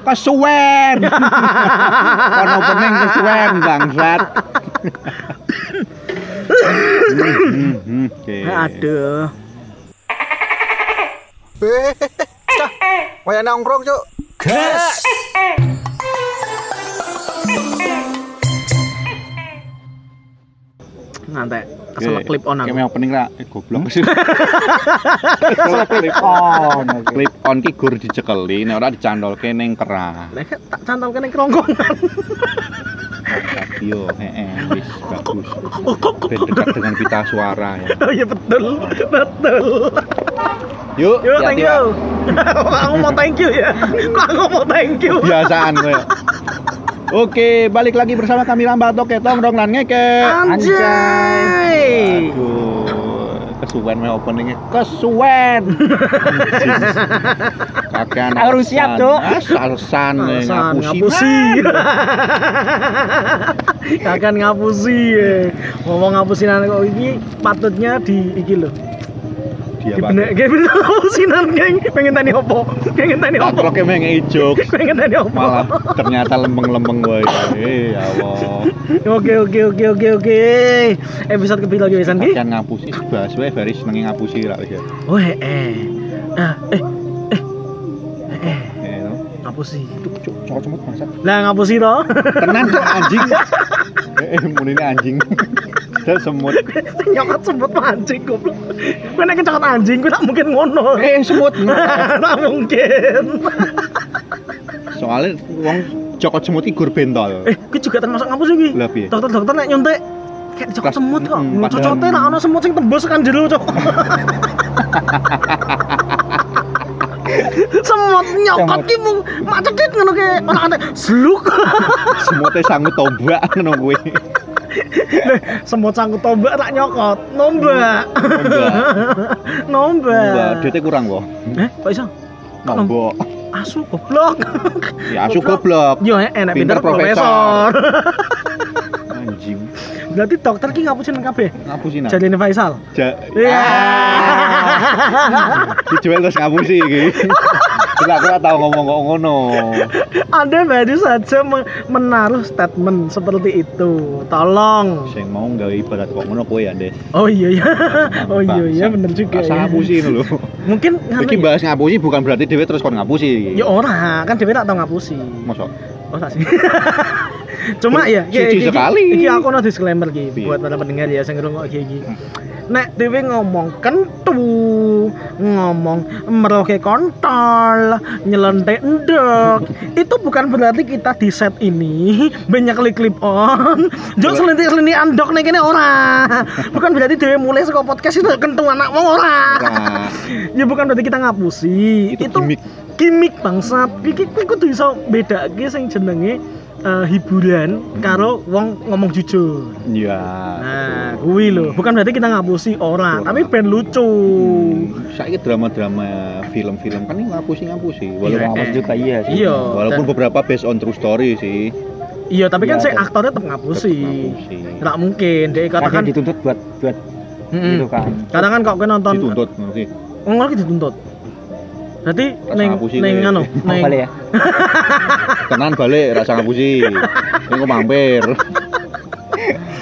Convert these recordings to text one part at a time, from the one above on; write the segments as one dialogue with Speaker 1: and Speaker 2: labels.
Speaker 1: Kesuwen. Kono pening kesuwen bangsat. Hmm, hmm, oke.
Speaker 2: Aduh.
Speaker 3: Weh, cah, waya Eh, nongkrong cuk. Gas.
Speaker 2: Ngantek kesel clip on aku.
Speaker 1: Kayak opening ra eh, goblok. Kesel clip on. Clip on ki gur dicekeli nek ora dicandolke ning kerah.
Speaker 2: Lah tak cantol kene kerongkongan.
Speaker 1: Radio heeh wis bagus. Ben dekat dengan pita suara ya.
Speaker 2: Oh iya betul. Betul.
Speaker 1: Yuk,
Speaker 2: Yo thank
Speaker 1: hati-hati,
Speaker 2: you. Kok aku mau thank you ya. Kok aku mau thank you.
Speaker 1: Pak. Biasaan gue. Oke, balik lagi bersama kami Lambat Oke Tong Dong Lan Ngeke.
Speaker 2: Anjay.
Speaker 1: Aduh, kesuwen me openingnya kesuwen. Kakek
Speaker 2: Harus siap, Cuk.
Speaker 1: Salsan, eh,
Speaker 2: Alasan,
Speaker 1: ngapusi.
Speaker 2: Nah, ngapusi. Kakak ngapusi. ya. Ngomong ngapusinan kok iki patutnya di iki lho.
Speaker 1: Dia
Speaker 2: Di bener ge bener ngapusinan geng. Pengen tani opo? Pengen tani opo?
Speaker 1: Pakroknya mengei jokes.
Speaker 2: Pengen tani opo?
Speaker 1: Malah ternyata lempeng-lempeng wae. Eh, ya Allah.
Speaker 2: Oke oke oke oke oke. Episode kepiro lagi wisan ki?
Speaker 1: Kakek ngapusi bahas wae bari senenge ngapusi ra wis ya.
Speaker 2: Oh eh eh. Ah, eh
Speaker 1: Eh, no.
Speaker 2: ngapusi.
Speaker 1: Cuk, cuk, cowok cemut bangsat.
Speaker 2: Lah ngapusi to.
Speaker 1: Tenan kok anjing. Eh, eh muni ini anjing. Kita semut.
Speaker 2: Nyokot sebut anjing goblok. Kowe nek kecokot anjing kowe tak mungkin ngono.
Speaker 1: Eh, semut.
Speaker 2: Tak mungkin.
Speaker 1: Soalnya wong cokot semut iki gur bentol.
Speaker 2: Eh, gue juga termasuk ngapusi iki.
Speaker 1: Lah, piye?
Speaker 2: Dokter-dokter nek nyuntik kayak dicokot
Speaker 1: Kas-
Speaker 2: semut kok.
Speaker 1: Mm, padahal-
Speaker 2: Cocote lah ono semut sing tembus kan jero cok. semut nyokot ki mung macet ngono ke ono antek sluk.
Speaker 1: semutnya sanggup tombak ngono kuwi.
Speaker 2: semut sangkut tombak tak nyokot. Nombak.
Speaker 1: Tombak. Tombak.
Speaker 2: Nombak.
Speaker 1: Duitnya kurang kok.
Speaker 2: Eh, kok iso?
Speaker 1: Nombok.
Speaker 2: Asu goblok.
Speaker 1: Ya asu goblok.
Speaker 2: Yo enak
Speaker 1: Pinter
Speaker 2: pinter
Speaker 1: profesor.
Speaker 2: profesor.
Speaker 1: Anjing.
Speaker 2: Berarti dokter ki ngapusin kabeh.
Speaker 1: Ngapusin ah.
Speaker 2: Jalene Faisal.
Speaker 1: Ja
Speaker 2: Iya.
Speaker 1: dijual terus ngapusi iki. Kita aku ora tau ngomong kok ngono.
Speaker 2: Anda baru saja me- menaruh statement seperti itu. Tolong.
Speaker 1: Sing mau gawe ibarat kok ngono kowe ya, Des.
Speaker 2: Oh iya ya. Oh iya ya bener juga
Speaker 1: Rasa
Speaker 2: ya. Nah,
Speaker 1: ngapusi lho.
Speaker 2: Mungkin
Speaker 1: Iki
Speaker 2: nganu-
Speaker 1: bahas ngapusi bukan berarti dhewe terus kon ngapusi.
Speaker 2: Ya ora, kan dhewe tak tau ngapusi.
Speaker 1: mosok.
Speaker 2: Oh tak sih. Cuma ya,
Speaker 1: Suci sekali.
Speaker 2: Iki aku no disclaimer iki
Speaker 1: Iya.
Speaker 2: buat para pendengar ya sing ngrungok iki iki.
Speaker 1: Hmm.
Speaker 2: Nek dhewe ngomong kentu, ngomong meroke kontol, nyelentik endek, itu bukan berarti kita di set ini banyak klik clip on.
Speaker 1: Iya.
Speaker 2: Jok selentik selentik andok nek kene ora. Bukan berarti dhewe mulai saka podcast itu kentu anak wong ora.
Speaker 1: Nah,
Speaker 2: ya bukan berarti kita ngapusi.
Speaker 1: itu gimmick
Speaker 2: gimmick bangsat iki kuwi kudu iso bedake sing jenenge eh, hiburan karo wong ngomong jujur
Speaker 1: ya.
Speaker 2: nah kuwi lho bukan berarti kita ngapusi orang
Speaker 1: Ora.
Speaker 2: tapi ben lucu
Speaker 1: Saya drama-drama film-film kan ini ngapusi ngapusi. Walaupun
Speaker 2: Iya, eh.
Speaker 1: iya
Speaker 2: Iya,
Speaker 1: Walaupun
Speaker 2: dan-
Speaker 1: beberapa based on true story sih.
Speaker 2: iya tapi kan
Speaker 4: Iya,
Speaker 2: saya
Speaker 4: tetep-
Speaker 2: aktornya tetap ngapusi
Speaker 1: ngapusi.
Speaker 2: nggak mungkin dia
Speaker 4: Kadang
Speaker 2: katakan
Speaker 4: dituntut buat buat
Speaker 2: Mm-mm.
Speaker 4: gitu kan.
Speaker 2: kadang kan kok kowe nonton
Speaker 1: Dituntut oke.
Speaker 2: wong lagi dituntut berarti
Speaker 1: Rasa
Speaker 2: neng
Speaker 1: ngapusi
Speaker 2: neng
Speaker 1: nih.
Speaker 2: anu
Speaker 4: Mau
Speaker 2: neng
Speaker 4: balik ya.
Speaker 1: Tenan balik rasa ngapusi. Ini kok mampir.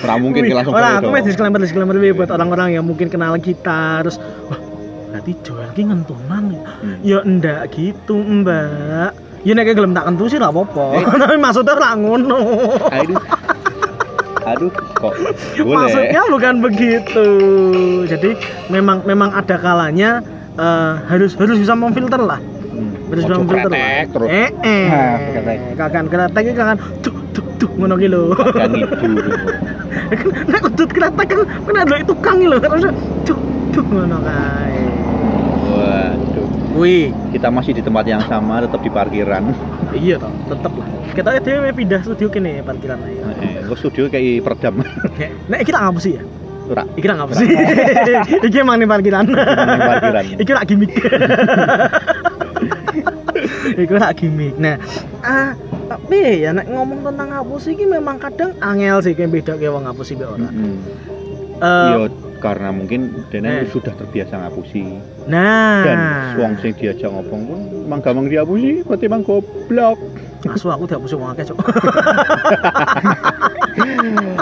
Speaker 1: Ora mungkin
Speaker 2: Wih,
Speaker 1: ki langsung
Speaker 2: Ora,
Speaker 1: balik
Speaker 2: aku
Speaker 1: dong.
Speaker 2: wis disclaimer disclaimer wih, buat orang-orang yang mungkin kenal kita terus wah, berarti Joel ki ngentunan ya.
Speaker 1: Hmm.
Speaker 2: Ya ndak gitu, Mbak. Ya nek gelem tak kentu sih lah
Speaker 1: Eh.
Speaker 2: apa-apa. Tapi maksudnya ora ngono.
Speaker 1: Aduh. Aduh kok boleh.
Speaker 2: Maksudnya bukan begitu. Jadi memang memang ada kalanya eh, harus harus bisa memfilter lah.
Speaker 1: Hmm.
Speaker 2: Harus bisa
Speaker 1: Ojo
Speaker 2: memfilter lah.
Speaker 1: kretek terus.
Speaker 2: Eh, eh.
Speaker 4: Nah, kretek.
Speaker 2: Kakan kretek iki kakan tuh tuh tuh ngono ki lho.
Speaker 1: Dan itu.
Speaker 2: Kan, nek udut kretek kan kena ndelok tukang ki lho. Kan harus tuh tuh ngono kae.
Speaker 1: Waduh.
Speaker 2: Wih,
Speaker 1: Kita masih di tempat yang sama tetap di parkiran.
Speaker 2: iya toh, tetep lah. Kita dhewe pindah studio kene parkiran ae.
Speaker 1: Eh, kok studio kayak peredam.
Speaker 2: Nek kita ngapus sih ya?
Speaker 1: Ora.
Speaker 2: Iki ra ngapus sih. Iki emang ning parkiran.
Speaker 1: ning parkiran.
Speaker 2: Iki rak gimmick. Iku rak gimmick. Nah, ah, tapi ya nek ngomong Iya. tentang ngapus iki memang kadang angel sih kayak beda kayak wong ngapus sih be ora.
Speaker 1: Mm-mm.
Speaker 2: Eh,
Speaker 1: Iya, karena mungkin dene
Speaker 2: Eh.
Speaker 1: sudah terbiasa ngapusi
Speaker 2: Nah,
Speaker 1: dan wong sing diajak ngomong pun mang gampang diapusi berarti mang goblok
Speaker 2: asu aku dihapusi wong akeh, Cuk.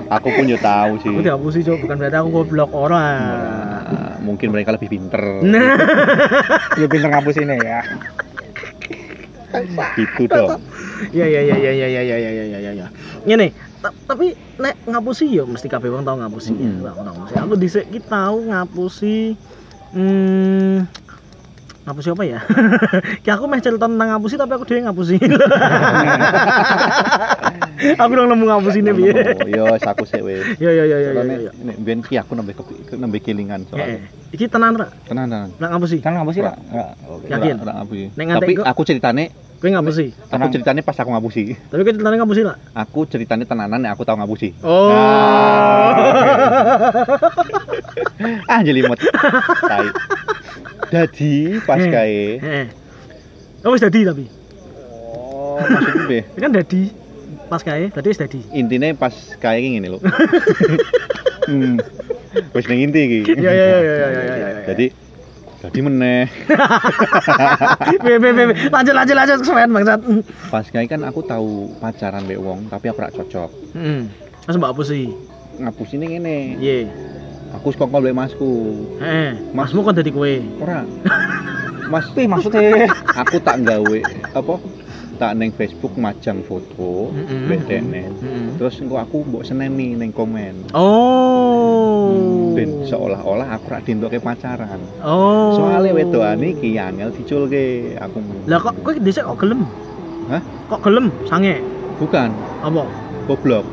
Speaker 1: aku pun ya tahu sih
Speaker 2: Aku dihapusi, Cuk, bukan berarti aku goblok ora.
Speaker 1: Nah, mungkin mereka lebih pinter
Speaker 2: Nah,
Speaker 4: Lu pinter ngapusinnya ya.
Speaker 1: gitu dong
Speaker 2: ya ya ya ya ya ya ya ya ya ya ya. Ngene, ta- tapi nek ngapusi ya mesti kabeh wong tau ngapusi.
Speaker 1: Mm-mm.
Speaker 2: Wong tau ngapusi. Aku dhisik ki tau ngapusi hmm, ngapusi apa ya? Ki aku meh cerita tentang ngapusi tapi aku dhewe ngapusi. aku udah nemu ngapusi ini piye.
Speaker 1: Oh, yo wis aku sik wis
Speaker 2: Ya ya ya ya ya.
Speaker 1: Soalnya
Speaker 2: ya, ya.
Speaker 1: nek ben ki aku nambah kepi- nambah kelingan soalnya.
Speaker 2: Eh, eh. Iki tenan ra?
Speaker 1: Tenang tenang.
Speaker 2: Nek ngapusi.
Speaker 4: Kan ngapusi lah.
Speaker 1: Ora, oke.
Speaker 2: Yakin?
Speaker 1: Ora, ora ngapusi.
Speaker 2: Nek ngantek
Speaker 1: Tapi
Speaker 2: kok-
Speaker 1: aku ceritane,
Speaker 2: Kowe ngapusi.
Speaker 1: aku
Speaker 4: Tenang.
Speaker 1: ceritane pas aku ngapusi.
Speaker 2: Tapi kowe ceritane ngapusi ra?
Speaker 1: Aku ceritane tenanan nek aku tau ngapusi.
Speaker 2: Oh.
Speaker 1: Ah jelimut. Tai. Jadi pas
Speaker 2: Eh.
Speaker 1: kae,
Speaker 2: Heeh. Oh wis dadi tapi.
Speaker 1: oh maksudku piye?
Speaker 2: Ini kan dadi pas kae, dadi wis dadi.
Speaker 1: Intine pas kae ki ngene lho. Hmm. Wis ning inti iki.
Speaker 2: Ya ya ya ya
Speaker 1: iya,
Speaker 2: ya ya, ya. ya.
Speaker 1: Jadi jadi meneh
Speaker 2: Be, be, be, be. lanjut lanjut lanjut kesuwen bangsat. Hmm.
Speaker 1: pas kae kan aku tahu pacaran mbek wong tapi aku ora cocok.
Speaker 2: Heeh. Mas mbak pusi.
Speaker 1: Ngapusine ngene.
Speaker 2: Ye.
Speaker 1: Aku wis kongkol mbek masku.
Speaker 2: Heeh.
Speaker 1: Iya. Mas-
Speaker 2: Eh, Masmu kon dadi kowe.
Speaker 1: Ora. Mas,
Speaker 4: Wih maksudnya.
Speaker 1: aku tak gawe apa? Tak neng Facebook majang foto
Speaker 2: Mm-mm.
Speaker 1: mbek dene.
Speaker 2: Heeh.
Speaker 1: Terus engko aku mbok seneni neng komen.
Speaker 2: Oh.
Speaker 1: Ben seolah-olah aku rak dientoke pacaran.
Speaker 2: Oh.
Speaker 1: Soale wedokan iki angel diculke aku.
Speaker 2: Lah kok kowe dhisik kok gelem?
Speaker 1: Hah?
Speaker 2: Kok gelem sange?
Speaker 1: bukan
Speaker 2: Apa?
Speaker 1: goblok.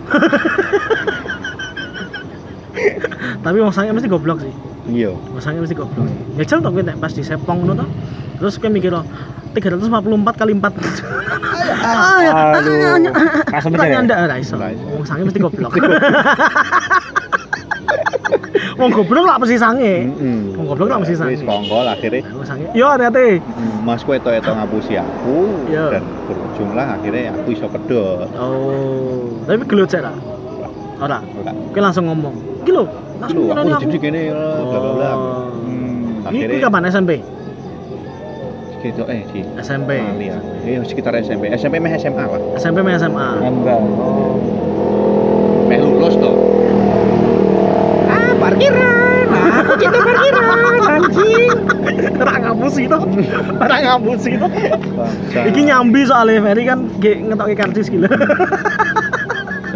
Speaker 2: Tapi wong sange mesti goblok sih.
Speaker 1: Iya.
Speaker 2: Wong sange mesti goblok. Ya jel to kowe nek pas di sepong ngono to. Terus kowe mikir "Oh, loh, 344 kali 4 Ah.
Speaker 4: Aduh. Langsung bener
Speaker 2: Tanya
Speaker 4: ya.
Speaker 2: anda ora iso.
Speaker 1: Ora iso.
Speaker 2: Wong sange mesti goblok. Wong goblok lah mesti sange.
Speaker 1: Heeh.
Speaker 2: Wong goblok lah mesti sange.
Speaker 1: Wis kongkol akhirnya
Speaker 2: Wong sange. Yo hati-hati.
Speaker 1: Mas kuwi eto-eto ngapusi aku
Speaker 2: Iya.
Speaker 1: dan berujunglah akhirnya aku iso kedot.
Speaker 2: Oh, tapi gelut cek lah. Ora.
Speaker 1: Ora.
Speaker 2: Kowe langsung ngomong. Iki lho, langsung
Speaker 1: Lu aku
Speaker 2: ngomong
Speaker 1: udah
Speaker 2: aku.
Speaker 1: jadi gini bla bla bla.
Speaker 2: Oh.
Speaker 1: Hmm,
Speaker 2: Iki iki
Speaker 1: akhirnya
Speaker 2: kapan SMP?
Speaker 1: gitu eh di
Speaker 2: SMP.
Speaker 1: Mali ya. Eh sekitar SMP. SMP meh SMA lah.
Speaker 2: SMP main SMA.
Speaker 4: Nembel. Oh.
Speaker 1: Meh lulus toh. Ah, parkiran. Aku cinta parkiran, anjing.
Speaker 2: Ora ngapusi to. Ora ngapusi to.
Speaker 1: Bangsa.
Speaker 2: Iki nyambi soalnya Ferry kan ge ngetoke karcis iki lho.
Speaker 1: Ya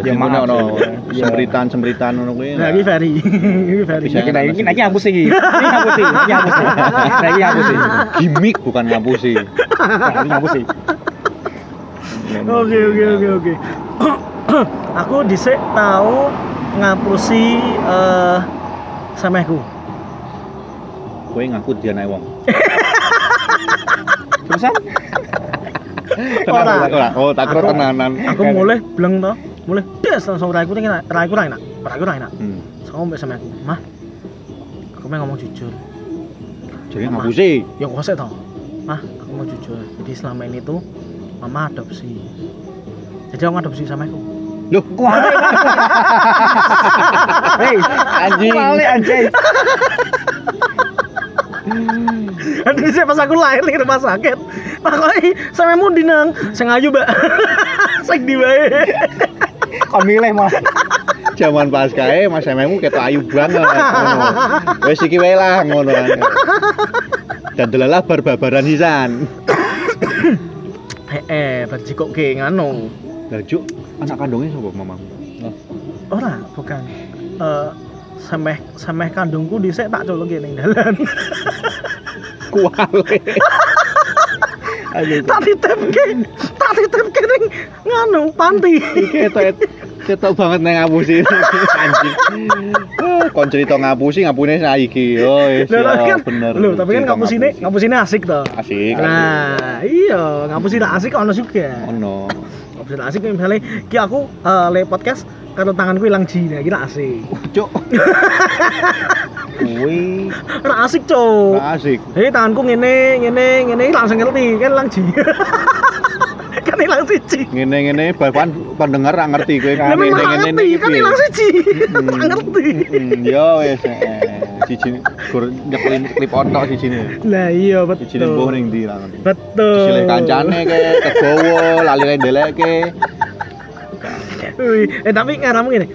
Speaker 4: Ya, maaf.
Speaker 1: maaf. Ono
Speaker 4: Ya.
Speaker 1: sembritan-sembritan ngono kuwi.
Speaker 2: Nah, iki Ferry. Iki Ferry.
Speaker 1: Bisa
Speaker 4: Nah, ini nanya ngapusi. Ini ngapusi. Ini ngapusi. Nah, ini ngapusi.
Speaker 1: Gimik bukan ngapusi.
Speaker 4: Nah, ini ngapusi.
Speaker 2: Oke oke oke oke. Aku dhisik tau ngapusi eh semehku.
Speaker 1: Kowe ngaku dia naik wong.
Speaker 4: Terusan?
Speaker 1: Tenan
Speaker 2: Ora.
Speaker 1: ora. Oh, tak kira
Speaker 2: Aku-
Speaker 1: tenanan.
Speaker 2: aku mulai bleng to mulai des langsung raiku tinggi raiku rai nak raiku rai nak
Speaker 1: Hmm.
Speaker 2: sama mbak sama aku mah aku mau ngomong jujur
Speaker 1: Jadi ngapusi.
Speaker 2: ya kok sih tau mah aku mau jujur jadi selama ini tuh mama adopsi jadi aku adopsi sama aku
Speaker 1: Loh,
Speaker 4: Kuali. Hei,
Speaker 1: Anjing.
Speaker 4: kuali anjing.
Speaker 2: jadi saya pas aku lahir di rumah sakit pakai sama mu dinang sengaja mbak sing diwae
Speaker 4: Kok milih malah.
Speaker 1: Jaman pas kae Mas Ememu ketok ayu banget. ngono. Wis iki wae lah ngono. kan. Dan delalah bar-babaran sisan.
Speaker 2: eh eh berarti kok kayak nganu
Speaker 1: Lah Juk, anak kandungnya sapa mamang?
Speaker 2: ora bukan eh semeh semeh kandungku dhisik tak colok ning dalan
Speaker 1: Kuale.
Speaker 4: Aduh.
Speaker 2: tak ditipke tak ditipke ning nganu panti
Speaker 1: Ketok ketok banget nang ngapusi. Anjing. Eh, Kon cerita ngapusi ngapune saiki. Oh, iya,
Speaker 2: Lho, lho, kan-
Speaker 1: bener.
Speaker 2: lho tapi kan
Speaker 1: Cerita
Speaker 2: ngapusine ngapusine asik to
Speaker 1: Asik. asik.
Speaker 2: nah iya ngapusi tak asik ono juga
Speaker 1: Ono.
Speaker 2: ngapusi tak asik misalnya ki aku eh, le podcast karo tanganku ilang jina kira asik
Speaker 1: Cuk. Kuwi
Speaker 2: ora asik cuk
Speaker 1: gak asik.
Speaker 2: jadi tanganku ngene ngene ngene langsung ngerti kan ilang jina kan ilang siji
Speaker 1: Ngene-ngene bahkan pendengar ra ngerti kowe
Speaker 2: Lah memang kan
Speaker 1: ngene-ngene iki
Speaker 2: ngerti kan
Speaker 1: piye.
Speaker 2: ilang siji tak ngerti
Speaker 1: Mm, Yo Hmm, wis. eh. siji gur nyekelin klip otok sijine.
Speaker 2: Lah iya
Speaker 1: Sijine mbuh
Speaker 2: betul.
Speaker 1: ning ndi lah. ngerti.
Speaker 2: Betul.
Speaker 1: Disilih kancane ke, kegowo, lali ndeleke.
Speaker 2: Wih, eh tapi ngaramu gini.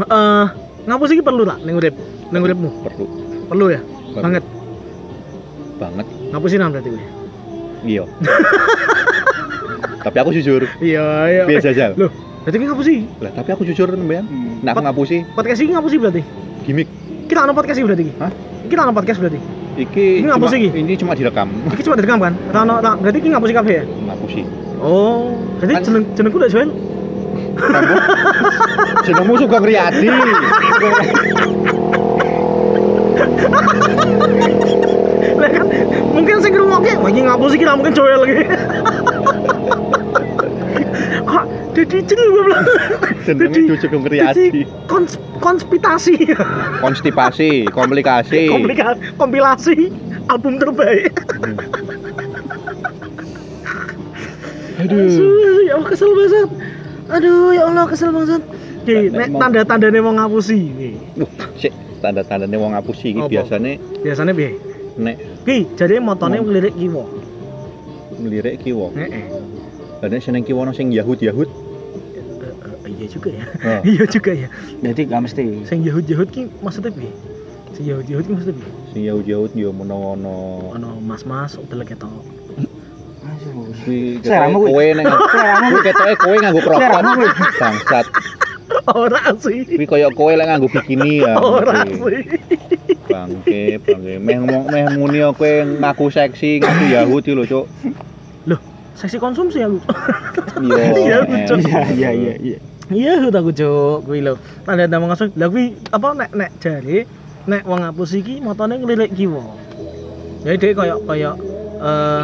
Speaker 2: Eh, ngapus iki perlu tak ning urip? Ning uripmu
Speaker 1: Perlu
Speaker 2: perlu ya?
Speaker 1: Perlu.
Speaker 2: Banget.
Speaker 1: banget.
Speaker 2: Ngapusin nang berarti kuwi.
Speaker 1: Iya. tapi aku jujur.
Speaker 2: Iya, iya.
Speaker 1: Piye,
Speaker 2: Eh,
Speaker 1: Jajal?
Speaker 2: Loh, berarti ki ngapusi.
Speaker 1: Lah, tapi aku jujur teman
Speaker 4: Hmm.
Speaker 1: Nah, aku ngapusi
Speaker 2: Podcast ini ngapusi berarti.
Speaker 1: gimmick.
Speaker 2: Kita ana podcast iki berarti.
Speaker 1: Hah?
Speaker 2: Kita ana podcast berarti.
Speaker 1: Iki
Speaker 2: Ini ngapus
Speaker 1: cuma-
Speaker 2: iki?
Speaker 1: Ini cuma direkam.
Speaker 2: Iki cuma direkam kan? Ora ana ora- berarti ki ngapusi kabeh ya?
Speaker 1: Ngapusi.
Speaker 2: Oh, berarti
Speaker 1: Kan-
Speaker 2: jeneng jenengku udah join.
Speaker 1: Jenengmu Sugeng Riyadi.
Speaker 2: Lah kan mungkin sing ngrungokke wah iki ngapusi ki ra mungkin join lagi. Kok jadi jeneng gue bilang.
Speaker 1: Jenenge
Speaker 2: Jadi-
Speaker 1: Du Sugeng
Speaker 2: Jadi
Speaker 1: Riyadi.
Speaker 2: kons konspirasi.
Speaker 1: Konstipasi, komplikasi.
Speaker 2: Komplikasi, kompilasi album terbaik.
Speaker 1: Aduh.
Speaker 2: Aduh, ya Allah kesel banget. Aduh, ya Allah kesel banget. Oke,
Speaker 1: Nek-
Speaker 2: nek
Speaker 1: mau-
Speaker 2: tanda-tandane mau ngapusi. Oke,
Speaker 1: Wah, sik tanda-tandane wong ngapusi iki
Speaker 2: Apa?
Speaker 1: biasane
Speaker 2: Biasanya piye?
Speaker 1: nek
Speaker 2: Ki, jadi motone
Speaker 1: Mau.
Speaker 2: ngelirik kiwa.
Speaker 1: melirik ki wong.
Speaker 2: Heeh.
Speaker 1: Lah nek seneng ki ono sing Yahud-Yahud.
Speaker 2: Iya juga ya.
Speaker 1: Nah,
Speaker 2: Iya juga ya.
Speaker 4: Jadi nggak mesti.
Speaker 2: Sing Yahud-Yahud ki maksudnya piye? Sing Yahud-Yahud ki maksudnya piye?
Speaker 1: sing ya Yahud-Yahud yo menawa-ono.
Speaker 2: Ono mas-mas udah ketok.
Speaker 1: Kuwi
Speaker 4: Seleramu
Speaker 1: ketoke
Speaker 4: kuwi.
Speaker 1: kowe ning
Speaker 4: Seleramu
Speaker 1: kuwi ketoke kowe nganggo crop top.
Speaker 4: Seleramu kuwi.
Speaker 1: Bangsat.
Speaker 2: Ora sih.
Speaker 1: Kuwi koyo kowe lek nganggo bikini ya.
Speaker 2: Ora
Speaker 1: Kuwi.
Speaker 2: sih.
Speaker 1: Bangke, bangke. Meh ngomong meh muni yo kowe ngaku seksi, ngaku Yahud iki lho, Cuk.
Speaker 2: Seksi konsumsi aku.
Speaker 1: Yo.
Speaker 2: Iya, Cuk.
Speaker 4: Iya iya iya iya.
Speaker 2: Iya, aku tak cuk kuwi lho. Tanda tanda ngaso. Lah kuwi apa nek nek jare nek wong ngapus iki motone ngelirik kiwa. Jadi dia koyo koyo eh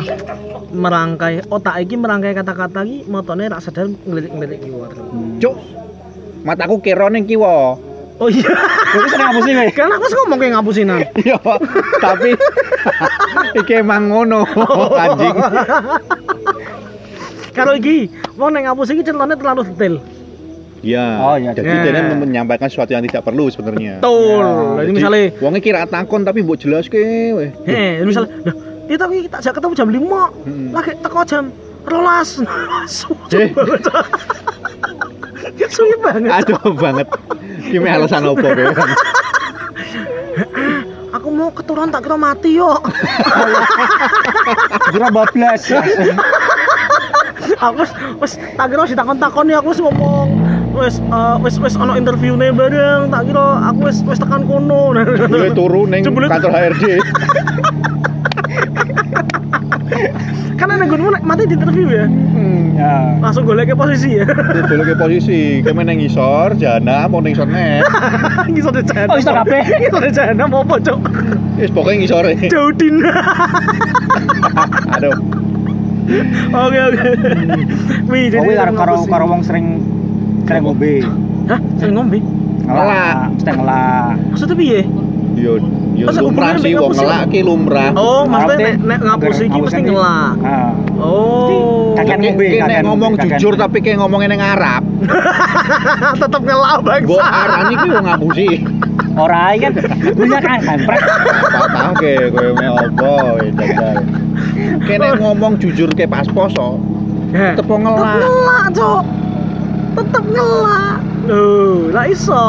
Speaker 2: merangkai otak iki merangkai kata-kata iki motone rak sadar ngelirik-ngelirik kiwa terus.
Speaker 1: Cuk. Mataku kira ning kiwa.
Speaker 2: Oh iya,
Speaker 4: Jadi sering ngapus sih
Speaker 1: eh?
Speaker 2: kan aku sih ngomong kayak ah. ngapusinan.
Speaker 1: Yo, Iya, tapi iki emang ngono anjing.
Speaker 2: Kalau iki wong nek ngapus iki ceritanya terlalu detail.
Speaker 1: Iya.
Speaker 4: Oh, iya.
Speaker 1: Jadi
Speaker 2: Nah.
Speaker 1: dia menyampaikan sesuatu yang tidak perlu sebenarnya.
Speaker 2: Betul.
Speaker 4: Ya,
Speaker 2: Jadi misalnya
Speaker 1: wong iki ra takon tapi mbok jelaske weh.
Speaker 2: Heeh, misal lho, kita iki tak jak ketemu jam 5.
Speaker 1: Mm-mm.
Speaker 2: Lagi teko jam 12.
Speaker 1: Eh.
Speaker 2: Suwe banget. Suwe banget.
Speaker 1: Aduh banget. Kimi alasan opo kowe?
Speaker 2: Aku mau keturunan tak kira mati yo.
Speaker 4: Kira bablas.
Speaker 2: aku wis wis tak kira wis takon-takon ya aku wis ngomong. Wis eh, wis wis ana interviewne bareng, tak kira aku wis wis tekan kono.
Speaker 1: Kowe turu ning
Speaker 2: Jebule-
Speaker 1: kantor HRD.
Speaker 2: Karena nang gunmu Kan nek mati di interview ya.
Speaker 4: Ya.
Speaker 2: Langsung golek posisi ya.
Speaker 1: Dulu ke posisi, kami neng ngisor, jana, mau neng sornet,
Speaker 2: Ngisor di jahanam.
Speaker 4: Oh, ngisor kabeh.
Speaker 2: Ngisor di jahanam apa, Cuk?
Speaker 1: is pokoknya ngisore.
Speaker 2: Jauh dina.
Speaker 1: Aduh,
Speaker 2: Oke oke. Wih,
Speaker 4: Oh,
Speaker 2: jadi
Speaker 4: kuwi karo karo
Speaker 2: ngapusi.
Speaker 4: karo wong sering sering ngombe.
Speaker 2: Hah? Sering ngombe?
Speaker 1: Ngelak.
Speaker 4: Ngelak, mesti ngelak.
Speaker 2: Maksudnya piye?
Speaker 1: yo yo
Speaker 2: Masa
Speaker 1: lumrah
Speaker 2: hubungannya
Speaker 1: sih,
Speaker 2: mbek
Speaker 1: wong
Speaker 2: ngapusi?
Speaker 1: ngelak ki lumrah.
Speaker 2: Oh, maksudnya nek,
Speaker 4: Ngerti?
Speaker 2: nek ngapus iki
Speaker 4: Ngapus
Speaker 2: mesti
Speaker 4: ini.
Speaker 2: ngelak.
Speaker 4: Ah.
Speaker 2: Oh.
Speaker 4: Mesti kakek-
Speaker 1: Ki-
Speaker 4: ngombe,
Speaker 1: ki nek
Speaker 4: kakek
Speaker 1: ngomong
Speaker 4: ngombe, kakek.
Speaker 1: jujur tapi kayak ngomongin yang Arab,
Speaker 2: tetap ngelak
Speaker 1: mbok
Speaker 2: bangsa.
Speaker 1: arani ki wong ngapusi.
Speaker 4: Ora iki kan punya kan kampret.
Speaker 1: Patah ke, kowe me opo, weh, dadal. Ki nek ngomong jujur ke pas poso,
Speaker 2: Heh.
Speaker 1: tetep wong
Speaker 2: Eh. Tetep
Speaker 1: ngelak.
Speaker 2: ngelak, Cok. Tetep ngelak. Loh, lah iso.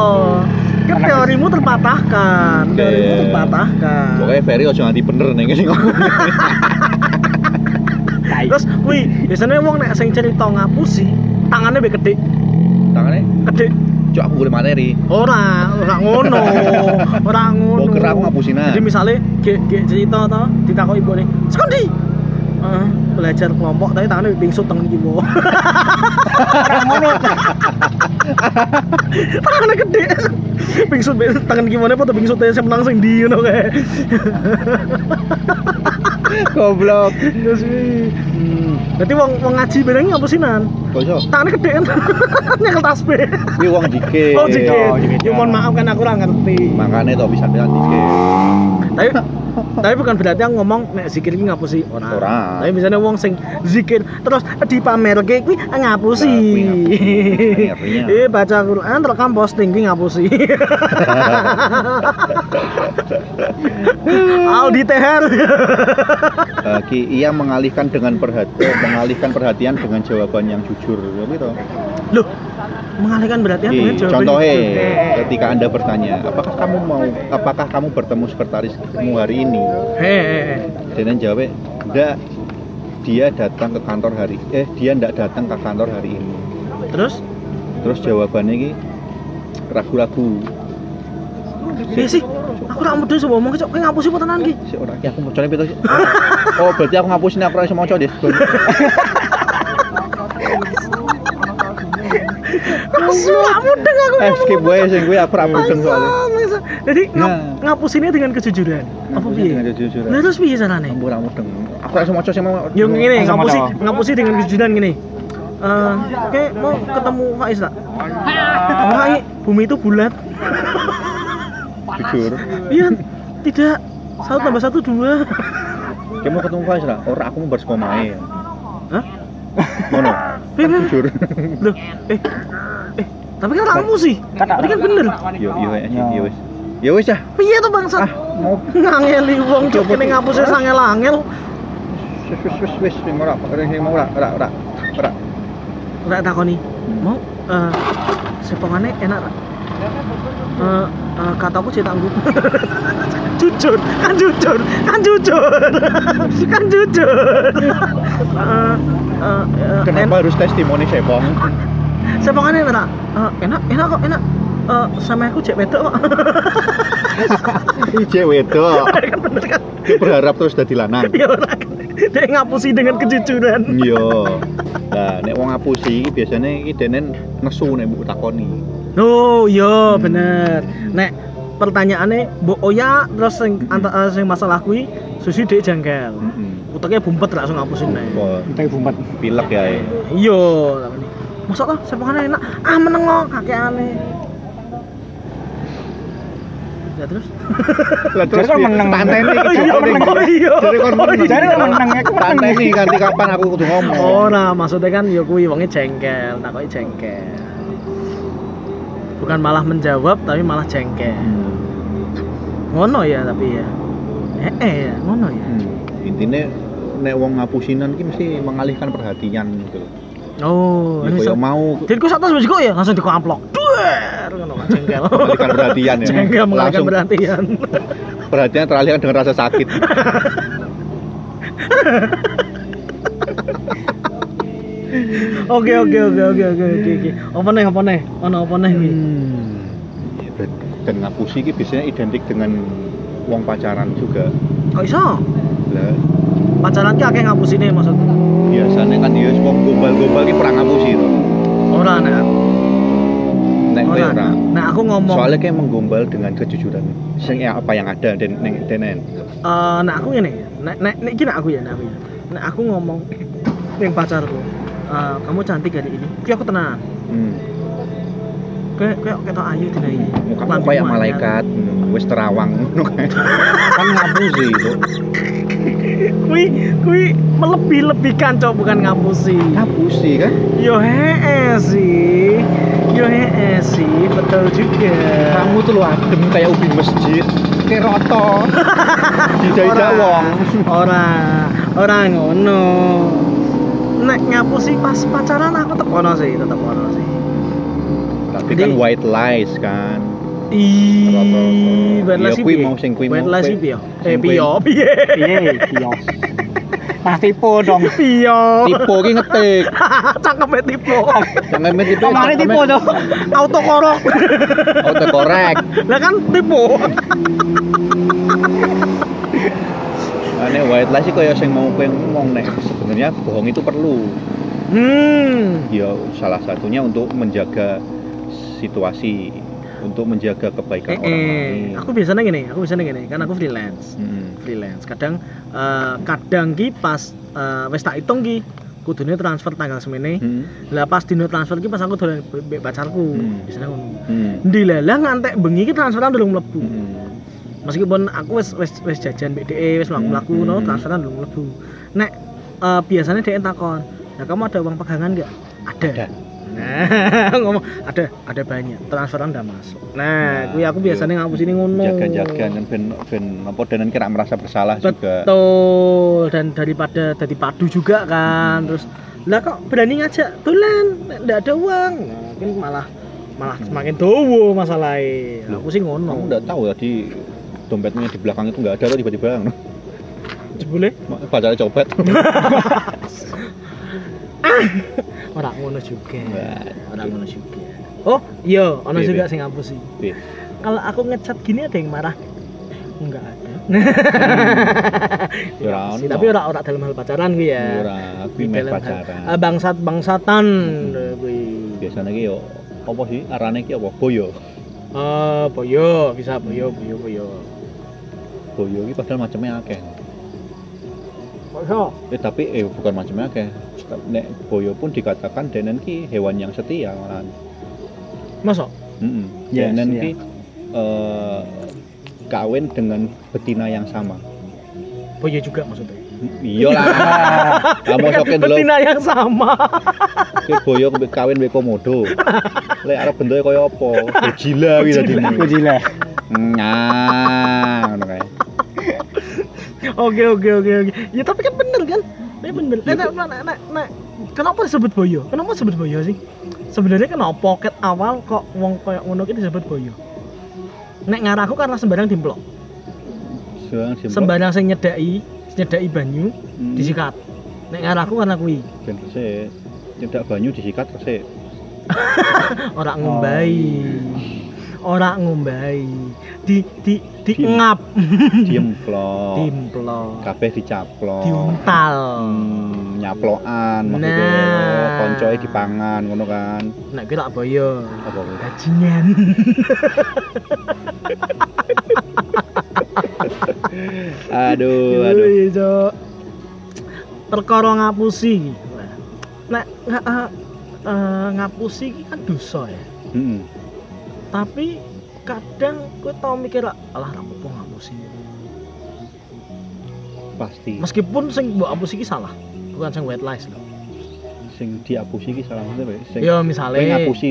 Speaker 2: Kan
Speaker 4: Anak-
Speaker 2: teorimu terpatahkan.
Speaker 1: Oke.
Speaker 2: Teorimu terpatahkan.
Speaker 1: Pokoknya Ferry ojo nganti bener nih ngene ngomong.
Speaker 4: Tai.
Speaker 2: Terus, wih, biasanya wong nek sing cerita ngapusi, tangannya be gede,
Speaker 1: Tangane,
Speaker 2: gede.
Speaker 1: cok aku boleh materi.
Speaker 2: Ora, ora ngono. Ora ngono.
Speaker 1: Boker aku ngapusinan.
Speaker 2: Jadi misalnya ge ge cerita to, ditakoki ibune, "Sekondi?" Eh, belajar kelompok tapi tangannya pingsut tangan iki mau. Tangannya gede. Pingsut be- tangan gimana apa tuh pingsut saya menang sing di ngono kae.
Speaker 1: Goblok.
Speaker 2: Terus wih. Berarti wong wong ngaji bareng ngapusinan.
Speaker 1: Bosok.
Speaker 2: Tangannya gede kan. Nyekel tasbih.
Speaker 1: Kuwi wong dikit.
Speaker 2: Oh, jikit.
Speaker 4: jikit.
Speaker 2: Ya mohon maaf kan aku ora ngerti.
Speaker 1: Makane to bisa bilang dikit.
Speaker 2: Tapi tapi bukan berarti aku ngomong nek zikir iki ngapusi ora.
Speaker 1: Ora.
Speaker 2: Tapi misalnya wong sing zikir terus dipamerke kuwi ngapusi.
Speaker 1: Lah, kuwi ngapusi.
Speaker 2: Eh baca Quran rekam posting kuwi ngapusi. Aldi THR.
Speaker 1: Bagi Eh, ia mengalihkan dengan perhatian, mengalihkan perhatian dengan jawaban yang jujur, ya gitu.
Speaker 2: Loh, mengalihkan berarti aku
Speaker 1: Jadi,
Speaker 2: ya jawabannya eh,
Speaker 1: contohnya,
Speaker 2: jujur.
Speaker 1: ketika anda bertanya, apakah kamu mau, apakah kamu bertemu sekretarismu hari ini?
Speaker 2: Eh, eh, eh.
Speaker 1: Dan dia jawabnya, enggak, dia datang ke kantor hari, eh dia enggak datang ke kantor hari ini.
Speaker 2: Terus
Speaker 1: Terus jawabannya ini ragu-ragu.
Speaker 2: Iya sih, aku ora mudun sing ngomong cok, kowe ngapusi apa tenan iki?
Speaker 1: Si orang, ya aku mau coba sih. Oh, berarti aku ngapusin aku langsung mau Eh, coba deh.
Speaker 2: Ora mudeng aku.
Speaker 1: Eh, skip gue, sing gue aku ramu deng
Speaker 2: Mangsa,
Speaker 1: soalnya.
Speaker 2: mangsa. Oh, iya, Jadi ngap,
Speaker 1: Nah.
Speaker 2: ngapusinnya dengan kejujuran. Apa
Speaker 1: Ngapusin
Speaker 2: piye?
Speaker 1: dengan kejujuran.
Speaker 2: Nah, terus piye carane?
Speaker 1: Aku ramu deng. Aku langsung mau coba sih mau.
Speaker 2: Yo ngene,
Speaker 4: Langsung
Speaker 2: ngapusi,
Speaker 4: moto.
Speaker 2: ngapusi dengan kejujuran gini. Eh, oke, mau ketemu Faiz tak? Oh, Faiz, bumi itu bulat.
Speaker 1: Jujur.
Speaker 2: Iya, tidak. Satu tambah satu dua.
Speaker 1: Kamu mau ketemu Faiz lah. Orang aku mau bersekomae.
Speaker 2: Hah?
Speaker 1: Mono.
Speaker 2: Eh, eh,
Speaker 1: Jujur.
Speaker 2: Loh, eh, eh, tapi kan kamu sih. Tadi kan bener.
Speaker 1: Yo yo aja yo wis. Ya wis ya. Ah.
Speaker 2: Piye tuh bangsat?
Speaker 1: Mau
Speaker 2: Ngangeli wong cok kene ngapusnya sangel-angel.
Speaker 1: wis wis wis wis sing ora sing mau ora ora ora. Ora.
Speaker 2: Ora takoni. Mau eh sepongane enak tak? Eh eh, kataku cetak anggup. jujur, kan jujur, kan jujur. kan jujur. Eh eh, eh,
Speaker 1: Kenapa harus testimoni sepong?
Speaker 2: en- sepongane enak tak? Eh, enak, enak kok, enak. Eh sama aku cek wedok kok.
Speaker 1: Ije wedok.
Speaker 2: kan bener kan?
Speaker 1: Dia berharap terus dadi lanang.
Speaker 2: Ya ora. kan? Dia ngapusi dengan kejujuran.
Speaker 1: Yo. Nah, nek wong ngapusi iki biasane iki denen nesu nek mbok takoni.
Speaker 2: Oh, yo
Speaker 1: Hmm.
Speaker 2: bener. Nek pertanyaannya mbok oya terus sing
Speaker 1: Mm-mm.
Speaker 2: anta- eh, sing masalah kuwi susi dhek janggal.
Speaker 1: Heeh.
Speaker 2: Uteknya bumpet langsung ngapusin nih.
Speaker 1: Wah,
Speaker 4: Entek bumpet.
Speaker 1: pilek ya. eh. ya.
Speaker 2: Iya, tapi masuk toh sepokane enak. Ah meneng kok kakek aneh. Ya terus.
Speaker 1: Lah
Speaker 4: Terus kan meneng.
Speaker 1: Tanteni
Speaker 4: Oh,
Speaker 2: iya, meneng. Oh, iya.
Speaker 1: Jadi kon
Speaker 2: Oh, iya.
Speaker 4: Jadi kan menang, aku menang.
Speaker 1: Tanteni ganti kapan aku kudu ngomong.
Speaker 2: Ora, maksudnya kan ya kuwi wonge jengkel, takoki jengkel. Bukan malah menjawab tapi malah jengkel.
Speaker 1: Mm.
Speaker 2: Ngono ya tapi ya. Eh, eh ya, ngono ya.
Speaker 1: Hmm. Intinya nek wong ngapusinan ki mesti mengalihkan perhatian gitu.
Speaker 2: Oh,
Speaker 1: Ya
Speaker 2: ini
Speaker 1: koyo
Speaker 2: so-
Speaker 1: mau
Speaker 2: Dirku sak tas besiku ya langsung diku amplok. Duer ngono Pak, jengkel.
Speaker 1: mengalihkan perhatian ya.
Speaker 2: Jengkel mengalihkan
Speaker 1: Langsung
Speaker 2: perhatian.
Speaker 1: perhatian teralihkan dengan rasa sakit.
Speaker 2: Oke oke oke oke oke oke oke. Apa neh apa neh? Ono apa neh iki?
Speaker 1: Ya, ber- Hmm. Dan ngapusi ki biasanya identik dengan wong pacaran juga.
Speaker 2: Kok iso?
Speaker 1: Lah
Speaker 2: Pacaran ki akeh ngapusine maksud.
Speaker 1: biasanya kan ya wong gombal-gombal ki perang ngapusi to.
Speaker 2: Ora nek aku.
Speaker 1: Nek kowe
Speaker 2: Ora.
Speaker 1: ora.
Speaker 2: Nek aku ngomong
Speaker 1: Soalnya kayak menggombal dengan kejujuran sing ya, apa yang ada dan neng denen.
Speaker 2: eh nek aku ngene. Nek nek nek iki nek aku ya nek aku. ya. Nek aku ngomong ning pacarku. eh, kamu cantik hari ini. Ki aku tenang.
Speaker 1: Hmm.
Speaker 2: Kayak kayak ketok ayu dina ini.
Speaker 1: Mukamu kayak ya, malaikat, hmm, wis terawang ngono kae. Kan ngapusi itu.
Speaker 2: Kui kui melebih-lebihkan cok bukan ngapusi.
Speaker 1: Ngapusi kan?
Speaker 2: Yo hee sih, yo hee sih, betul juga.
Speaker 1: kamu tuh lu adem kayak ubi masjid kayak roto
Speaker 2: Ora.
Speaker 1: dijajah wong
Speaker 2: ora, ora ngono. Nek ngapusi pas pacaran aku tetep ono sih, tetep ono sih.
Speaker 1: tapi kan
Speaker 2: Jadi-
Speaker 1: white lies kan
Speaker 2: Ih,
Speaker 1: Ya,
Speaker 2: belas sih
Speaker 1: kui
Speaker 2: piye?
Speaker 1: mau sing kui mau,
Speaker 2: Belas
Speaker 1: kui-
Speaker 2: sih piye? Eh
Speaker 1: sing kui-
Speaker 2: piye piye?
Speaker 4: Piye, kios. Nah, tipu dong.
Speaker 2: Piye?
Speaker 1: tipe ki ngetik
Speaker 2: Cakep ya, tipe.
Speaker 1: yang ngemet tipe
Speaker 4: Kemarin tipu dong.
Speaker 2: Autokorok.
Speaker 1: auto korek
Speaker 2: Lah kan tipe.
Speaker 1: ane white lies sih kayak sing mau kowe ngomong nek sebenarnya bohong itu perlu
Speaker 2: Hmm.
Speaker 1: ya salah satunya untuk menjaga situasi untuk menjaga kebaikan
Speaker 2: Eh,
Speaker 1: orang
Speaker 2: eh,
Speaker 1: lain
Speaker 2: aku biasanya gini, aku biasanya gini, kan aku freelance.
Speaker 1: Hmm.
Speaker 2: freelance kadang eh, kadang ki pas eh, wis tak hitung ki kudune transfer tanggal semene
Speaker 1: Hmm.
Speaker 2: lah pas dino transfer ki pas aku dolan be- be- pacarku
Speaker 1: Hmm.
Speaker 2: biasanya ngono
Speaker 1: Hmm.
Speaker 2: ndilalah ngantek bengi ki transferan durung mlebu
Speaker 1: Hmm.
Speaker 2: meskipun aku wis wis wis jajan BDE wis mlaku-mlaku no
Speaker 4: Hmm.
Speaker 2: transferan belum mlebu nek eh, biasanya dia takon ya kamu ada uang pegangan nggak ada,
Speaker 1: Ada.
Speaker 2: Nah, ngomong ada ada banyak transferan udah masuk. Nah,
Speaker 1: iya.
Speaker 2: kuwi aku biasanya ngapus ini ngono.
Speaker 1: jaga-jaga dan ben ben apa dan kira merasa bersalah juga
Speaker 2: Betul. Dan daripada tadi padu juga kan. Terus lah kok berani ngajak dolan nek ndak ada uang. Nah, Mungkin malah malah semakin dowo masalahnya.
Speaker 1: Loh,
Speaker 2: Aku sih ngono.
Speaker 1: kamu nggak tahu ya, tadi dompetnya di belakang itu nggak ada tuh tiba-tiba
Speaker 2: Jebule
Speaker 1: pacarnya copet
Speaker 2: ora ngono juga.
Speaker 1: Wah,
Speaker 2: Ora ngono juga. Oh, iya, ono
Speaker 1: Iya,
Speaker 2: juga
Speaker 1: iya.
Speaker 2: sing ngapus sih.
Speaker 1: Iya.
Speaker 2: Kalau aku ngechat gini ada yang marah. Enggak ada. iya
Speaker 1: Ya, ora
Speaker 2: Sih,
Speaker 1: ono.
Speaker 2: tapi ora ora dalam hal pacaran gue ya.
Speaker 1: ora aku
Speaker 2: Dalam
Speaker 1: main
Speaker 2: hal- eh,
Speaker 1: pacaran
Speaker 2: bangsat bangsatan gue.
Speaker 1: biasanya ki yo apa sih arane ki apa boyo
Speaker 2: Eh, boyo, bisa boyo, boyo, boyo.
Speaker 1: boyo ki padahal macamnya akeh
Speaker 2: Boyo.
Speaker 1: eh tapi eh bukan macamnya akeh nek boyo pun dikatakan denen ki hewan yang setia malahan
Speaker 2: Masa?
Speaker 1: Mm-mm.
Speaker 4: Yes,
Speaker 1: Denen
Speaker 4: iya.
Speaker 1: ki eh, kawin dengan betina yang sama
Speaker 2: Boyo juga maksudnya.
Speaker 1: iyalah kamu sokin dulu
Speaker 2: Betina yang sama.
Speaker 1: Ki boyo kembe- kawin mbek komodo. Lek arep bentuke kaya apa? Gojila kuwi dadi.
Speaker 4: Gojila.
Speaker 1: Nah, ngono kae.
Speaker 2: Oke, oke, oke, oke. Ya tapi kan bener kan? Ya bener. Nah, nah, nah, nah, nah. Kenapa disebut boyo? Kenapa disebut boyo sih? Sebenarnya kenapa ket awal kok wong koyo ngono ki disebut boyo? Nek ngarah aku karena sembarang dimplok.
Speaker 1: Sembarang jempol.
Speaker 2: Sembarang sing nyedaki, nyedaki banyu
Speaker 1: Hmm,
Speaker 2: disikat. Nek ngarah aku karena kuwi
Speaker 1: ben resik. Nyedak banyu disikat resik.
Speaker 2: ora ngombai. Ora ngombai. Di di di
Speaker 1: Diem.
Speaker 2: ngap
Speaker 1: Diemplok.
Speaker 2: dimplok,
Speaker 1: Kabeh dicaplok.
Speaker 2: diuntal.
Speaker 1: Hmm, nyaplokan maksudnya
Speaker 2: Nah.
Speaker 1: koncoe dipangan ngono kan.
Speaker 2: Nek ki tak boyo.
Speaker 1: Apa kuwi?
Speaker 2: Bajingan.
Speaker 1: Aduh, aduh.
Speaker 2: Aduh, Cok. Perkara ngapusi iki. Nek nga- eh, eh, ngapusi iki kan dosa ya.
Speaker 1: Heeh.
Speaker 2: Tapi kadang kowe tau mikir alah ra apa ngapusi.
Speaker 1: Pasti
Speaker 2: Meskipun sing mbok hapus iki salah, bukan sing white lies lho.
Speaker 1: sing diapusi iki salah maksudnya sing
Speaker 2: Yo
Speaker 1: sing
Speaker 2: misale
Speaker 1: ngapusi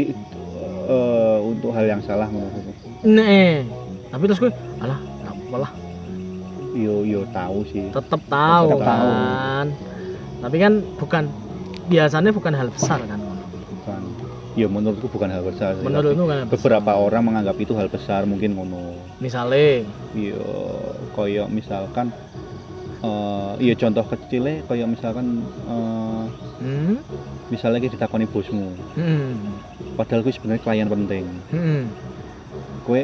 Speaker 1: eh, untuk hal yang salah ngono.
Speaker 2: Nek. eh. Tapi terus kowe alah ra apa lah
Speaker 1: yo yo tahu sih
Speaker 2: tetep tahu
Speaker 1: Tetep tahu.
Speaker 2: kan. Tapi kan bukan biasanya bukan hal besar kan.
Speaker 1: bukan ya menurutku bukan hal besar sih,
Speaker 2: Menurutmu kan
Speaker 1: tapi beberapa orang menganggap itu hal besar mungkin ngono
Speaker 2: misalnya
Speaker 1: yo koyo misalkan eh iya contoh kecilnya koyo misalkan eh,
Speaker 2: hmm,
Speaker 1: misalnya kita ditakoni bosmu
Speaker 2: hmm,
Speaker 1: padahal gue sebenarnya klien penting
Speaker 2: hmm,
Speaker 1: gue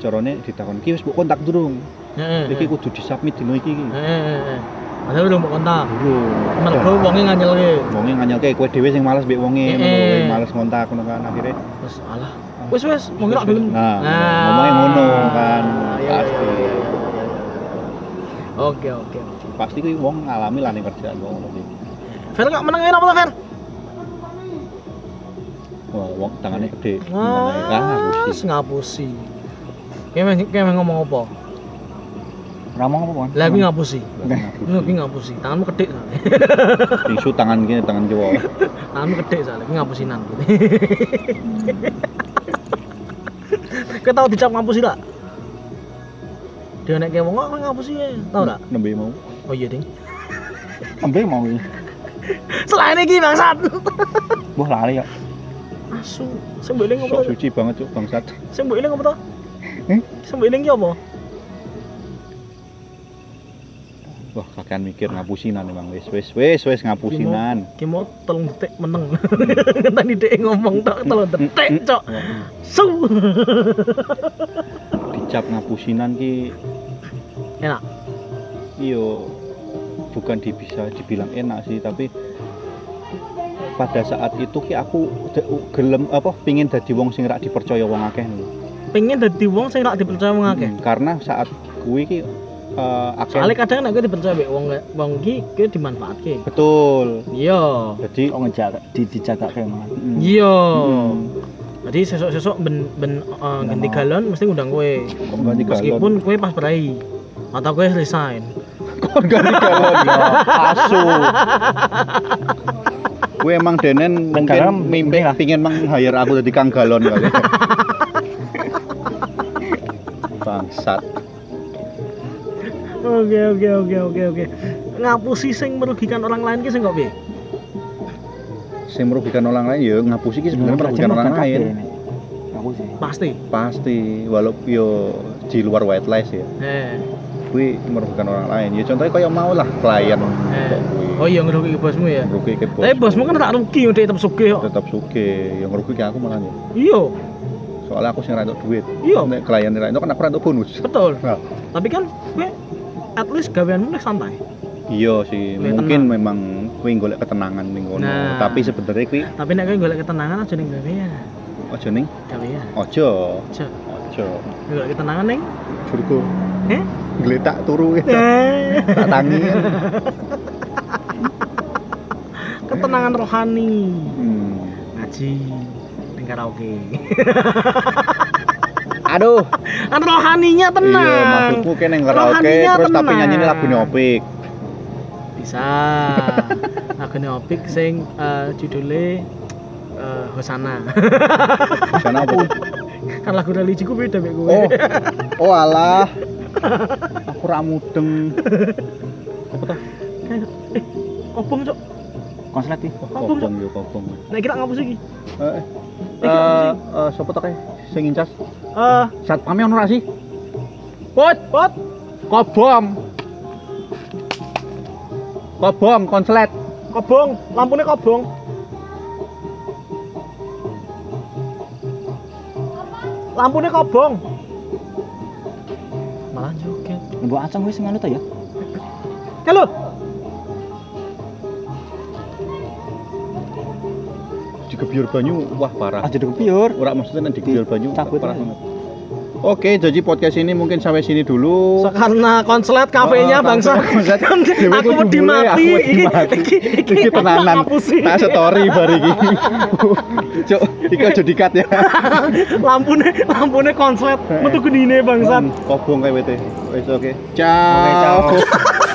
Speaker 1: corone ditakon ki wis mbok kontak durung
Speaker 2: Heeh,
Speaker 1: iki kudu disubmit dino iki iki
Speaker 2: Eh, eh, eh. Padahal udah mau kontak.
Speaker 1: durung
Speaker 2: Mergo wonge nganyelke.
Speaker 1: wonge nganyelke kowe dhewe sing males mbek wonge
Speaker 2: Eh,
Speaker 1: ngono
Speaker 2: eh.
Speaker 1: kowe males ngontak ngono kan akhirnya
Speaker 2: Terus alah. Wis wis, mau ngelak belum. Ah.
Speaker 1: Nah, ngomongnya ngono kan.
Speaker 2: Iya,
Speaker 1: Pasti.
Speaker 2: iya, iya, iya, iya, iya. Oke, oke. oke.
Speaker 1: pasti kuwi wong ngalami lah ning kerjaan wong ngono kuwi.
Speaker 2: Fer kok menang apa tuh, Fer?
Speaker 1: Wah, wong tangannya gede.
Speaker 2: Ah.
Speaker 1: Gimana ya? Kan
Speaker 2: Wah,
Speaker 1: harus sih.
Speaker 2: ngapusi. Kayak kayak ngomong apa?
Speaker 4: Ngomong apa, Bang?
Speaker 2: Lah kuwi ngapusi. Kuwi
Speaker 1: Ngapusi.
Speaker 2: kuwi ngapusi. Tanganmu kedik soalnya.
Speaker 1: Tisu tangan gini, tangan kiwa.
Speaker 2: Tanganmu kedik soalnya. Kuwi ngapusinan. Kau tahu dicap ngapusi tak? Dia nek kayak wong kok ngapusi ya. Tahu tak?
Speaker 1: Nembe mau.
Speaker 2: Oh iya, Ding.
Speaker 4: Embe mau iki.
Speaker 2: Selain iki bangsat.
Speaker 4: Wah, lali ya.
Speaker 2: Asu. Sing mbok eling
Speaker 1: Sok
Speaker 2: apa?
Speaker 1: suci banget cuk bangsat.
Speaker 2: Sing mbok eling apa to?
Speaker 4: Eh?
Speaker 2: Sing mbok eling ki apa?
Speaker 1: Wah, kakean mikir ngapusinan emang wis wis wis wis ngapusinan.
Speaker 2: Ki mau telung detik meneng. Tadi dhek ngomong tok telung
Speaker 1: Mm,
Speaker 2: detik, cok. Su.
Speaker 1: Dicap ngapusinan ki
Speaker 2: Enak.
Speaker 1: iyo Iya. bukan di- bisa dibilang enak sih, tapi pada saat itu ki aku de- gelem apa pingin dadi wong sing rak dipercaya wong akeh lho.
Speaker 2: Pengen dadi wong sing ora dipercaya wong akeh. kan-
Speaker 1: Hmm, karena saat kuwi ki eh, akeh
Speaker 2: Soale kadang nek kowe dipercaya mbek wong wong iki kowe dimanfaatke.
Speaker 1: betul
Speaker 2: Iya.
Speaker 1: jadi
Speaker 4: Kok ngejaga di dijaga kayak mana?
Speaker 1: mm,
Speaker 2: Iya.
Speaker 1: mm,
Speaker 2: Jadi sesuk-sesuk ben ben eh, ganti galon mesti ngundang kowe.
Speaker 1: ganti galon?
Speaker 2: Meskipun kowe pas berai atau kowe resign.
Speaker 1: Kon ganti galon ya. Asu. Gue emang Denen
Speaker 4: galon
Speaker 1: mungkin mimpi
Speaker 4: mungkin lah.
Speaker 1: pingin meng hire aku jadi kang galon kali. Bangsat.
Speaker 5: Oke oke oke oke oke. Ngapusi sing merugikan orang lain ki sing kok piye?
Speaker 1: Sing merugikan orang lain ya ngapusi ki
Speaker 4: Nah,
Speaker 1: sebenarnya merugikan orang lain.
Speaker 4: ya? Aku sih.
Speaker 2: Pasti.
Speaker 1: Pasti walaupun yo di luar white lies ya.
Speaker 2: Eh.
Speaker 1: Kuwi merugikan orang lain. Ya contohnya kayak mau lah klien
Speaker 2: eh.
Speaker 1: kok kuwi.
Speaker 2: Oh iya ngerugi bosmu ya.
Speaker 1: Rugi ke bos.
Speaker 2: Tapi bosmu kan tak rugi udah tetep sugih kok.
Speaker 1: tetap suke yang rugi ke aku malah ya.
Speaker 2: Iya,
Speaker 1: soalnya aku sih ngerantuk duit
Speaker 2: iya,
Speaker 1: nek klien ngerantuk kan aku ngerantuk bonus
Speaker 2: betul.
Speaker 1: Nah.
Speaker 2: Tapi kan kowe at least gaweanmu nih santai.
Speaker 1: iya sih
Speaker 2: Golek
Speaker 1: mungkin memang kuwi golek ketenangan ning kono
Speaker 2: Nah.
Speaker 1: tapi sebenarnya kuwi
Speaker 2: Tapi nek kowe golek ketenangan aja ning ya. gawean.
Speaker 1: aja ning
Speaker 2: Gawean.
Speaker 1: aja
Speaker 2: Aja.
Speaker 1: aja
Speaker 2: ya. Golek ketenangan ning.
Speaker 1: jurku
Speaker 2: Eh?
Speaker 1: geletak turu ya
Speaker 2: Eh,
Speaker 1: tak tangi
Speaker 2: ketenangan rohani.
Speaker 1: hmm.
Speaker 2: Ngaji ning karaoke.
Speaker 1: aduh
Speaker 2: Kan rohaninya tenang.
Speaker 1: iya maksudku kene yang karaoke
Speaker 2: Rohaninya
Speaker 1: terus tapi
Speaker 2: tenang.
Speaker 1: nyanyi lagu neopik
Speaker 2: Bisa. Lagune opik sing eh, judule eh, Hosana.
Speaker 1: sana apa
Speaker 2: kan lagu religiku beda mek kowe.
Speaker 1: oh oh alah aku ra mudeng
Speaker 2: Obong cok.
Speaker 4: Konslet sih.
Speaker 1: kopong yo kopong
Speaker 2: Nek kira ngapus iki.
Speaker 1: eh
Speaker 2: Iki ngapus
Speaker 1: eh
Speaker 2: iki.
Speaker 1: eh, sapa toke sing incas
Speaker 2: Eh,
Speaker 1: satpamnya ono ra sih
Speaker 2: pot, pot.
Speaker 1: Kobom. Kobom konslet.
Speaker 2: Kobong, lampunya kobong. Lampunya kobong. Malah joget.
Speaker 4: Mbok acang wis nganu ta ya?
Speaker 2: Halo.
Speaker 1: Digebyur banyu wah parah.
Speaker 4: Aja dek piur.
Speaker 1: Ora maksudnya nek Ah, digebyur banyu
Speaker 4: Cabut
Speaker 1: parah
Speaker 4: aja.
Speaker 1: banget. Oke, jadi podcast ini mungkin sampai sini dulu.
Speaker 2: Karena konslet kafenya
Speaker 1: Oh,
Speaker 2: bangsa. Kan
Speaker 1: konslet. Dewe
Speaker 2: aku
Speaker 1: ku
Speaker 2: wedi
Speaker 1: jebule,
Speaker 2: mati.
Speaker 1: aku wedi mati.
Speaker 2: Iki iki
Speaker 1: Iki tenanan.
Speaker 2: ngapusi.
Speaker 1: Tak story bar iki. Cuk, iki aja dikat ya.
Speaker 2: Lampune lampune konslet. Metu gendine bangsa.
Speaker 1: Kobong kae wete. Wis oke. Ciao.
Speaker 4: ciao.